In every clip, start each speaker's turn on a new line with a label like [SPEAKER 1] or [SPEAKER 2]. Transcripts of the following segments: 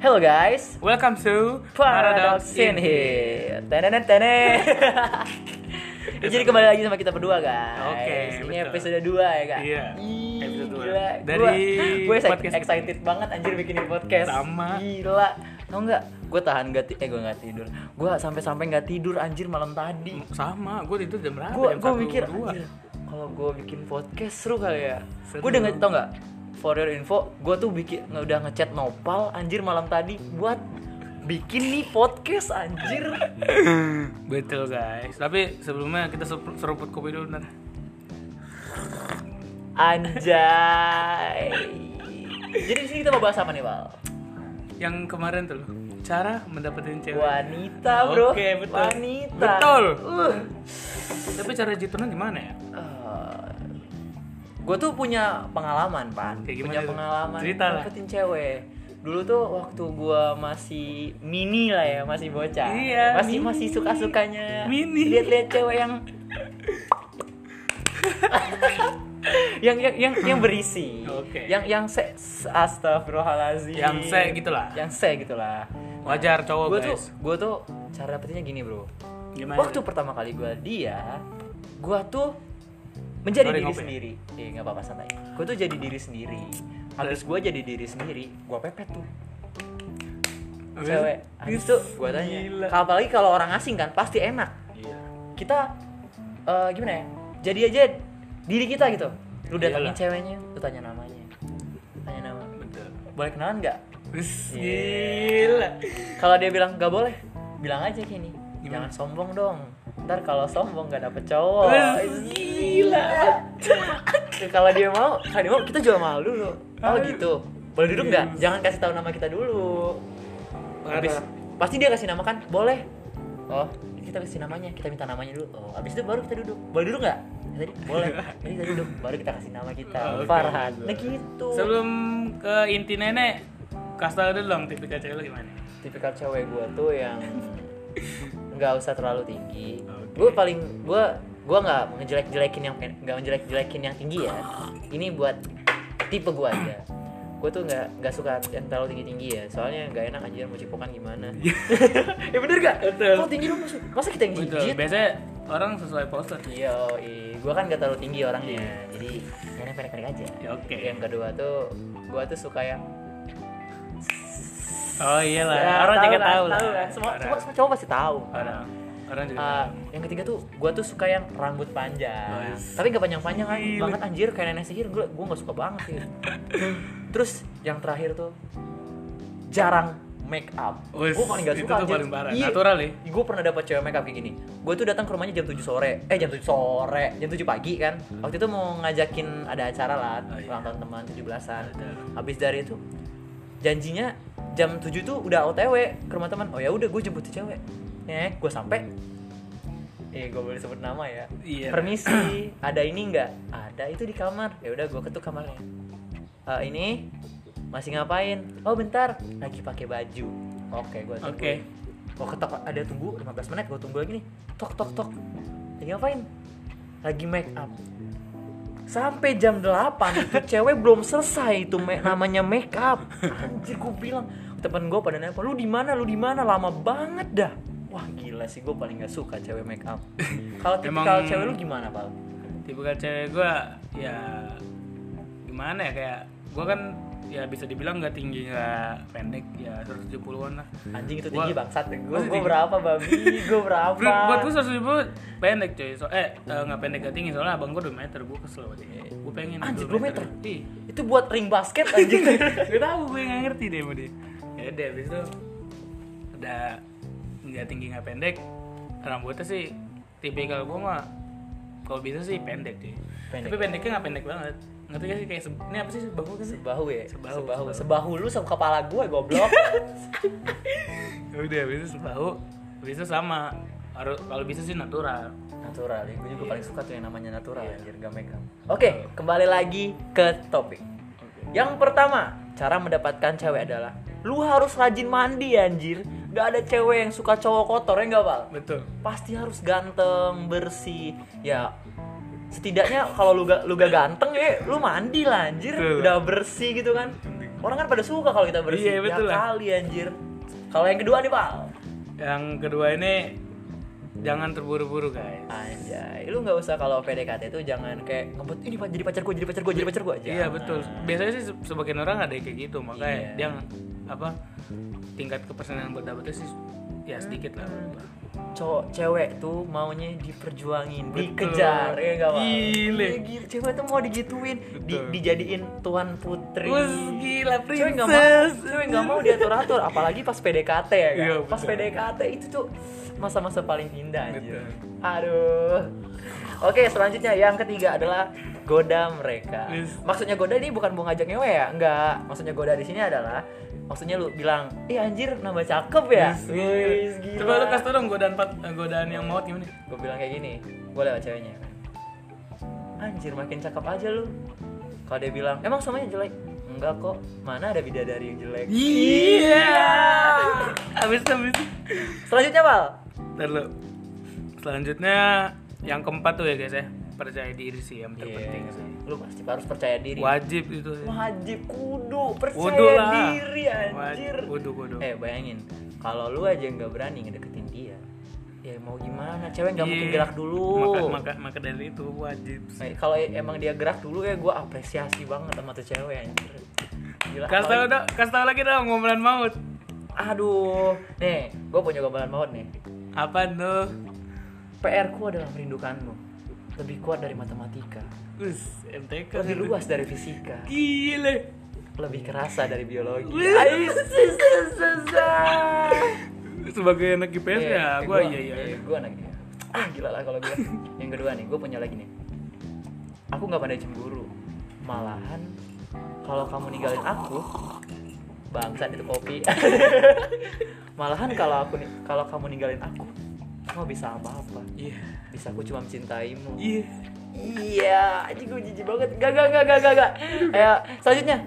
[SPEAKER 1] Hello guys,
[SPEAKER 2] Welcome to
[SPEAKER 1] Paradox
[SPEAKER 2] iya.
[SPEAKER 1] in here.
[SPEAKER 2] Here.
[SPEAKER 1] Tenen tenen. Jadi kembali lagi sama kita berdua guys.
[SPEAKER 2] Oke,
[SPEAKER 1] Ini
[SPEAKER 2] betul.
[SPEAKER 1] episode 2 ya kak.
[SPEAKER 2] Iya,
[SPEAKER 1] Ih,
[SPEAKER 2] episode dua.
[SPEAKER 1] Gila.
[SPEAKER 2] Dari
[SPEAKER 1] gue
[SPEAKER 2] podcast-
[SPEAKER 1] excited banget anjir bikinin podcast.
[SPEAKER 2] Sama.
[SPEAKER 1] Gila. Tau nggak? Gue tahan gak ti- eh gue nggak tidur. Gue sampai-sampai nggak tidur anjir malam tadi.
[SPEAKER 2] Sama, gue tidur jam berapa?
[SPEAKER 1] gue
[SPEAKER 2] jam
[SPEAKER 1] gue
[SPEAKER 2] satu,
[SPEAKER 1] mikir
[SPEAKER 2] dua.
[SPEAKER 1] "Anjir, kalau gue bikin podcast seru kali ya
[SPEAKER 2] Seru.
[SPEAKER 1] gue udah nggak tau nggak for your info gue tuh bikin udah ngechat nopal anjir malam tadi buat bikin nih podcast anjir
[SPEAKER 2] Betul guys. Tapi sebelumnya kita seru- seruput kopi dulu nanti.
[SPEAKER 1] anjay jadi di sini kita mau bahas apa nih pal
[SPEAKER 2] Yang kemarin tuh, cara mendapatkan cewek.
[SPEAKER 1] wanita bro
[SPEAKER 2] Oke, betul.
[SPEAKER 1] wanita
[SPEAKER 2] Betul.
[SPEAKER 1] Uh.
[SPEAKER 2] Tapi cara jitunan gimana ya?
[SPEAKER 1] gue Eh, tuh punya pengalaman pan
[SPEAKER 2] Kayak gimana
[SPEAKER 1] punya
[SPEAKER 2] tuh?
[SPEAKER 1] pengalaman
[SPEAKER 2] Cerita lah.
[SPEAKER 1] dapetin cewek dulu tuh waktu gue masih mini lah ya masih bocah
[SPEAKER 2] Iya,
[SPEAKER 1] masih
[SPEAKER 2] mini.
[SPEAKER 1] masih suka sukanya
[SPEAKER 2] Mini.
[SPEAKER 1] lihat-lihat cewek yang yang yang yang yang berisi
[SPEAKER 2] Oke.
[SPEAKER 1] yang yang se astagfirullahalazim
[SPEAKER 2] Yang se gitu. gitulah.
[SPEAKER 1] yang se gitulah
[SPEAKER 2] Wajar cowok
[SPEAKER 1] gue tuh
[SPEAKER 2] guys.
[SPEAKER 1] gue tuh cara dapetinnya gini bro
[SPEAKER 2] Gimana
[SPEAKER 1] waktu
[SPEAKER 2] tuh?
[SPEAKER 1] pertama kali gue dia gue tuh menjadi
[SPEAKER 2] Sorry,
[SPEAKER 1] diri
[SPEAKER 2] ngopi.
[SPEAKER 1] sendiri eh nggak apa-apa santai gue tuh jadi diri sendiri habis gue jadi diri sendiri gue pepet tuh
[SPEAKER 2] Habis-
[SPEAKER 1] cewek habis tuh gue
[SPEAKER 2] Gila.
[SPEAKER 1] tanya apalagi kalau orang asing kan pasti enak
[SPEAKER 2] Iya.
[SPEAKER 1] kita eh, gimana ya jadi aja diri kita gitu lu datangin
[SPEAKER 2] Iyalah.
[SPEAKER 1] ceweknya lu tanya namanya tanya nama
[SPEAKER 2] Betul.
[SPEAKER 1] boleh kenalan nggak
[SPEAKER 2] Wis,
[SPEAKER 1] Iya.
[SPEAKER 2] Gila.
[SPEAKER 1] kalau dia bilang nggak boleh bilang aja gini
[SPEAKER 2] Gimana?
[SPEAKER 1] jangan sombong dong ntar kalau sombong nggak dapet cowok
[SPEAKER 2] Wes, gila.
[SPEAKER 1] kalau dia mau kalau dia mau kita jual mahal dulu oh
[SPEAKER 2] Aduh.
[SPEAKER 1] gitu boleh duduk nggak
[SPEAKER 2] Iya.
[SPEAKER 1] jangan kasih tahu nama kita dulu habis pasti dia kasih nama kan boleh oh kita kasih namanya kita minta namanya dulu oh habis itu baru kita duduk boleh duduk nggak Ya tadi boleh jadi kita duduk baru kita kasih nama kita
[SPEAKER 2] Ah, Oke.
[SPEAKER 1] Farhan nah gitu
[SPEAKER 2] Sebelum ke inti nenek, kasih tau dulu dong tipikal cewek lo gimana?
[SPEAKER 1] tipikal cewek gue tuh yang nggak usah terlalu tinggi
[SPEAKER 2] Oke.
[SPEAKER 1] gue paling gue gue nggak ngejelek-jelekin yang pen- nggak menjelek-jelekin yang tinggi ya ini buat tipe gue aja gue tuh nggak nggak suka yang terlalu tinggi tinggi ya soalnya nggak enak anjir mau cipokan gimana ya bener gak
[SPEAKER 2] Betul.
[SPEAKER 1] kalau tinggi lu masa, masa kita yang
[SPEAKER 2] Iya. Betul.
[SPEAKER 1] jijik
[SPEAKER 2] Biasanya orang sesuai poster.
[SPEAKER 1] iya gue kan nggak terlalu tinggi orangnya jadi yang pendek-pendek aja
[SPEAKER 2] Ya, Iya. oke.
[SPEAKER 1] yang kedua tuh gue tuh suka yang
[SPEAKER 2] Oh iyalah,
[SPEAKER 1] Ya,
[SPEAKER 2] orang juga
[SPEAKER 1] kan,
[SPEAKER 2] tahu lah.
[SPEAKER 1] kan. semua
[SPEAKER 2] Orang.
[SPEAKER 1] semua, semua cowok pasti tahu
[SPEAKER 2] orang orang juga
[SPEAKER 1] Eh,
[SPEAKER 2] tahu.
[SPEAKER 1] yang ketiga tuh gue tuh suka yang rambut panjang
[SPEAKER 2] Nice.
[SPEAKER 1] tapi nggak panjang panjang kan
[SPEAKER 2] Gila.
[SPEAKER 1] banget anjir kayak nenek sihir gue gue nggak suka banget sih terus yang terakhir tuh jarang make up
[SPEAKER 2] Wes,
[SPEAKER 1] gue paling gak
[SPEAKER 2] itu
[SPEAKER 1] suka
[SPEAKER 2] tuh paling parah. Natural ya?
[SPEAKER 1] gue pernah dapat cewek make up kayak gini gue tuh datang ke rumahnya jam 7 sore eh jam 7 sore jam 7 pagi kan waktu itu mau ngajakin ada acara lah
[SPEAKER 2] Oh, Hmm. iya.
[SPEAKER 1] ulang tahun teman 17an
[SPEAKER 2] Ada.
[SPEAKER 1] habis dari itu janjinya jam 7 tuh udah otw ke rumah teman oh ya udah gue jemput tuh cewek eh gue sampai eh gue boleh sebut nama ya
[SPEAKER 2] Iya.
[SPEAKER 1] permisi ada ini nggak ada itu di kamar ya udah gue ketuk kamarnya "Eh, ini masih ngapain oh bentar lagi pakai baju oke gue tunggu
[SPEAKER 2] Oke.
[SPEAKER 1] gue ketok ada tunggu 15 menit gue tunggu lagi nih tok tok tok lagi ngapain lagi make up sampai jam 8 itu cewek belum selesai itu me- namanya make up anjir gue bilang temen gue pada nelfon lu di mana lu di mana lama banget dah wah gila sih gue paling gak suka cewek make up kalau tipikal
[SPEAKER 2] Emang-
[SPEAKER 1] cewek lu gimana pal
[SPEAKER 2] tipikal cewek gue ya gimana ya kayak gue kan ya bisa dibilang nggak tinggi nggak pendek ya 170-an lah
[SPEAKER 1] anjing itu
[SPEAKER 2] Gua-
[SPEAKER 1] tinggi bangsat gue
[SPEAKER 2] gua sih
[SPEAKER 1] gue
[SPEAKER 2] tinggi.
[SPEAKER 1] berapa babi gue berapa
[SPEAKER 2] Bro, buat gue 170 pendek cuy so, eh eh, nggak pendek nggak tinggi soalnya abang gue 2 meter gue kesel banget gue pengen Iya.
[SPEAKER 1] Anjir,
[SPEAKER 2] 2
[SPEAKER 1] 2 meter?
[SPEAKER 2] Ih,
[SPEAKER 1] itu buat ring basket anjing
[SPEAKER 2] gak tau gue gak ngerti deh sama dia ya udah abis itu udah nggak tinggi nggak pendek rambutnya sih tipikal gue mah kalau bisa sih pendek deh
[SPEAKER 1] Pendek.
[SPEAKER 2] tapi pendeknya nggak pendek banget ngerti gak sih kayak se- ini apa sih bahu kan sih
[SPEAKER 1] sebahu ya
[SPEAKER 2] Sebahu,
[SPEAKER 1] sebahu
[SPEAKER 2] sebahu.
[SPEAKER 1] sebahu lu sama kepala gue goblok
[SPEAKER 2] ya udah abis itu bahu abis itu sama harus kalau bisa sih natural
[SPEAKER 1] natural ya gue juga paling suka tuh yang namanya natural
[SPEAKER 2] Iya.
[SPEAKER 1] anjir gak make up oke kembali lagi ke topik yang pertama cara mendapatkan cewek adalah lu harus rajin mandi anjir gak ada cewek yang suka cowok kotor ya nggak pal
[SPEAKER 2] betul
[SPEAKER 1] pasti harus ganteng bersih ya setidaknya kalau lu gak lu gak ganteng ya lu mandi lah anjir
[SPEAKER 2] Betul.
[SPEAKER 1] udah bersih gitu kan Orang kan pada suka kalau kita bersih.
[SPEAKER 2] Iya, betul
[SPEAKER 1] ya
[SPEAKER 2] lah.
[SPEAKER 1] kali anjir. Kalau yang kedua nih, Pak.
[SPEAKER 2] Yang kedua ini jangan terburu-buru guys.
[SPEAKER 1] Anjay, lu nggak usah kalau PDKT itu jangan kayak ngebut ini Pak, jadi pacar gue, jadi pacar gue, jadi pacar gue aja.
[SPEAKER 2] Iya betul. Biasanya sih se- sebagian orang ada yang kayak
[SPEAKER 1] Ya. Iya.
[SPEAKER 2] gitu makanya dia nge- apa tingkat kepersenangan buat dapetnya sih ya sedikit lah.
[SPEAKER 1] Cowok cewek tuh maunya diperjuangin, dikejar, ya nggak Pak?
[SPEAKER 2] Gile.
[SPEAKER 1] Iya, gila. Cewek tuh mau digituin, di,
[SPEAKER 2] Betul.
[SPEAKER 1] dijadiin tuan putri.
[SPEAKER 2] Wes gila
[SPEAKER 1] Cewek
[SPEAKER 2] princess.
[SPEAKER 1] nggak mau, cewek nggak mau diatur-atur, apalagi pas PDKT ya kan.
[SPEAKER 2] Iya,
[SPEAKER 1] pas
[SPEAKER 2] betul.
[SPEAKER 1] PDKT itu tuh masa-masa paling indah anjir.
[SPEAKER 2] Betul.
[SPEAKER 1] Aduh. Oke, selanjutnya yang ketiga adalah goda mereka.
[SPEAKER 2] Yes.
[SPEAKER 1] Maksudnya goda ini bukan mau ngajak ngewe ya? Enggak. Maksudnya goda di sini adalah maksudnya lu bilang, "Ih anjir, nambah cakep ya." Wih, gila.
[SPEAKER 2] Coba lu kasih tau dong godaan empat godaan yang mau gimana?
[SPEAKER 1] Gue bilang kayak gini, gue lewat ceweknya. Anjir, makin cakep aja lu. Kalau dia bilang, "Emang semuanya jelek?" Enggak kok. Mana ada bidadari yang jelek?
[SPEAKER 2] Iya. Abis abis.
[SPEAKER 1] Selanjutnya, Pal.
[SPEAKER 2] Ntar lu. Selanjutnya yang keempat tuh ya guys ya percaya diri sih yang terpenting sih.
[SPEAKER 1] Iya. Lu pasti harus percaya diri.
[SPEAKER 2] Wajib itu.
[SPEAKER 1] Wajib kudu Iya. percaya
[SPEAKER 2] Kudu lah.
[SPEAKER 1] diri anjir.
[SPEAKER 2] Wajib. Kudu kudu.
[SPEAKER 1] Eh, bayangin kalau lu aja nggak berani ngedeketin dia. Ya mau gimana? Cewek nggak mungkin
[SPEAKER 2] Iya.
[SPEAKER 1] gerak dulu.
[SPEAKER 2] Maka, maka, maka dari itu wajib. sih.
[SPEAKER 1] Nah, kalau e- emang dia gerak dulu ya gua apresiasi banget sama tuh cewek anjir. Gila.
[SPEAKER 2] Kasih tau
[SPEAKER 1] kalau-
[SPEAKER 2] dong, kasih tau lagi dong ngomongin maut.
[SPEAKER 1] Aduh. Nih, gua punya gambaran banget nih.
[SPEAKER 2] Apa tuh?
[SPEAKER 1] PR ku adalah merindukanmu. Lebih kuat dari matematika,
[SPEAKER 2] Us, MTK.
[SPEAKER 1] lebih luas dari fisika.
[SPEAKER 2] Gile.
[SPEAKER 1] lebih kerasa dari biologi.
[SPEAKER 2] Wih.
[SPEAKER 1] Ayo, sus, sus, sus, sus.
[SPEAKER 2] Sebagai anak IPS ya,
[SPEAKER 1] Eh,
[SPEAKER 2] gue iya iya.
[SPEAKER 1] eh, gua anak iya. Ah, gila lah kalau gue. Yang kedua nih, gue punya lagi nih. Aku nggak pandai cemburu. Malahan kalau kamu ninggalin aku, bangsat itu kopi. Malahan kalau aku ni- kalau kamu ninggalin aku, aku nggak bisa apa-apa.
[SPEAKER 2] Iya.
[SPEAKER 1] Bisa aku cuma mencintaimu.
[SPEAKER 2] Iya.
[SPEAKER 1] Iya, anjing gue jijik banget. Gak, gak, gak, gak, gak, gak. Ayo, selanjutnya.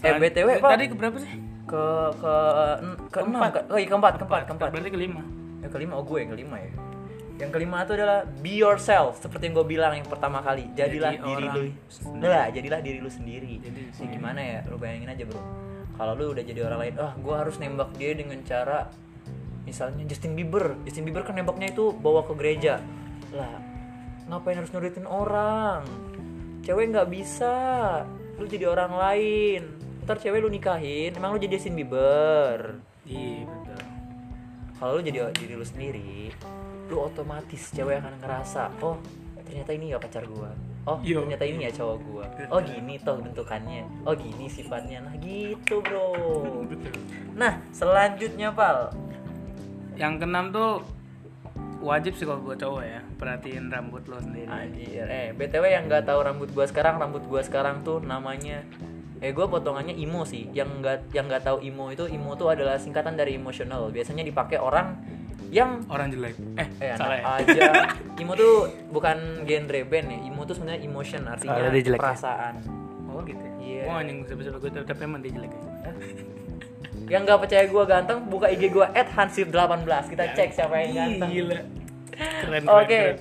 [SPEAKER 1] Eh,
[SPEAKER 2] Saat-
[SPEAKER 1] BTW, Pak.
[SPEAKER 2] Tadi keberapa sih?
[SPEAKER 1] Ke, ke, ke enam, ke, oh, iya, keempat, keempat, keempat.
[SPEAKER 2] Berarti kelima.
[SPEAKER 1] Yang kelima, oh gue yang kelima ya. Yang kelima itu adalah be yourself. Seperti yang gue bilang yang pertama kali. Jadilah
[SPEAKER 2] Jadi
[SPEAKER 1] diri
[SPEAKER 2] orang
[SPEAKER 1] lu.
[SPEAKER 2] sendiri.
[SPEAKER 1] Lah, jadilah diri lu sendiri.
[SPEAKER 2] Jadi
[SPEAKER 1] Ya, gimana ya, lu bayangin aja bro. Kalau lu udah jadi orang lain, ah gue harus nembak dia dengan cara misalnya Justin Bieber. Justin Bieber kan nembaknya itu bawa ke gereja. Lah, ngapain harus nurutin orang? Cewek nggak bisa. Lu jadi orang lain. Ntar cewek lu nikahin, emang lu jadi Justin Bieber
[SPEAKER 2] Iya betul.
[SPEAKER 1] kalau lu jadi diri lu sendiri lu otomatis cewek akan ngerasa oh ternyata ini ya pacar gua oh
[SPEAKER 2] Yo.
[SPEAKER 1] ternyata ini ya cowok gua oh gini toh bentukannya oh gini sifatnya nah gitu bro
[SPEAKER 2] Betul.
[SPEAKER 1] nah selanjutnya pal
[SPEAKER 2] Yang keenam tuh wajib sih kalau buat cowok ya perhatiin rambut lo sendiri.
[SPEAKER 1] anjir eh btw yang nggak tahu rambut gua sekarang rambut gua sekarang tuh namanya eh gua potongannya imo sih yang nggak yang nggak tahu imo itu imo tuh adalah singkatan dari emosional biasanya dipakai orang yang
[SPEAKER 2] Orang jelek. Eh,
[SPEAKER 1] Eh, anak
[SPEAKER 2] salah ya.
[SPEAKER 1] aja. Imo tuh bukan genre band ya. Imo tuh sebenarnya emotion artinya
[SPEAKER 2] Soalnya dia jelek ya?
[SPEAKER 1] perasaan.
[SPEAKER 2] Oh gitu. ya?
[SPEAKER 1] Iya.
[SPEAKER 2] Gua anjing bisa-bisa gue tapi emang dia jelek. Ya.
[SPEAKER 1] Yang nggak percaya gua ganteng, buka IG gua @hansip18. Kita cek siapa yang ganteng.
[SPEAKER 2] Ya Gila. Keren, keren,
[SPEAKER 1] Oke.
[SPEAKER 2] keren.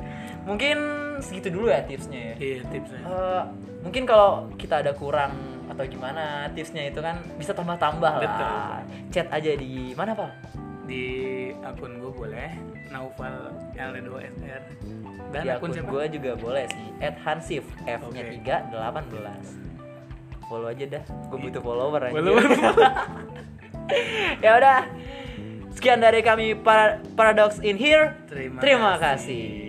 [SPEAKER 1] Mungkin segitu dulu ya tipsnya ya.
[SPEAKER 2] Iya, tipsnya.
[SPEAKER 1] Eh, mungkin kalau kita ada kurang atau gimana tipsnya itu kan bisa tambah-tambah
[SPEAKER 2] Betul.
[SPEAKER 1] lah. Chat aja di mana, Pak?
[SPEAKER 2] Di akun gue boleh Naufal L2SR dan
[SPEAKER 1] Di
[SPEAKER 2] akun
[SPEAKER 1] Ya, akun
[SPEAKER 2] siapa?
[SPEAKER 1] gua juga boleh sih. @hansif F-nya
[SPEAKER 2] Oke.
[SPEAKER 1] 3 18. Follow aja dah.
[SPEAKER 2] Iya.
[SPEAKER 1] Gue butuh follower aja.
[SPEAKER 2] Belum.
[SPEAKER 1] ya udah sekian dari kami para paradox in here
[SPEAKER 2] Terima
[SPEAKER 1] terima
[SPEAKER 2] kasih.
[SPEAKER 1] kasih.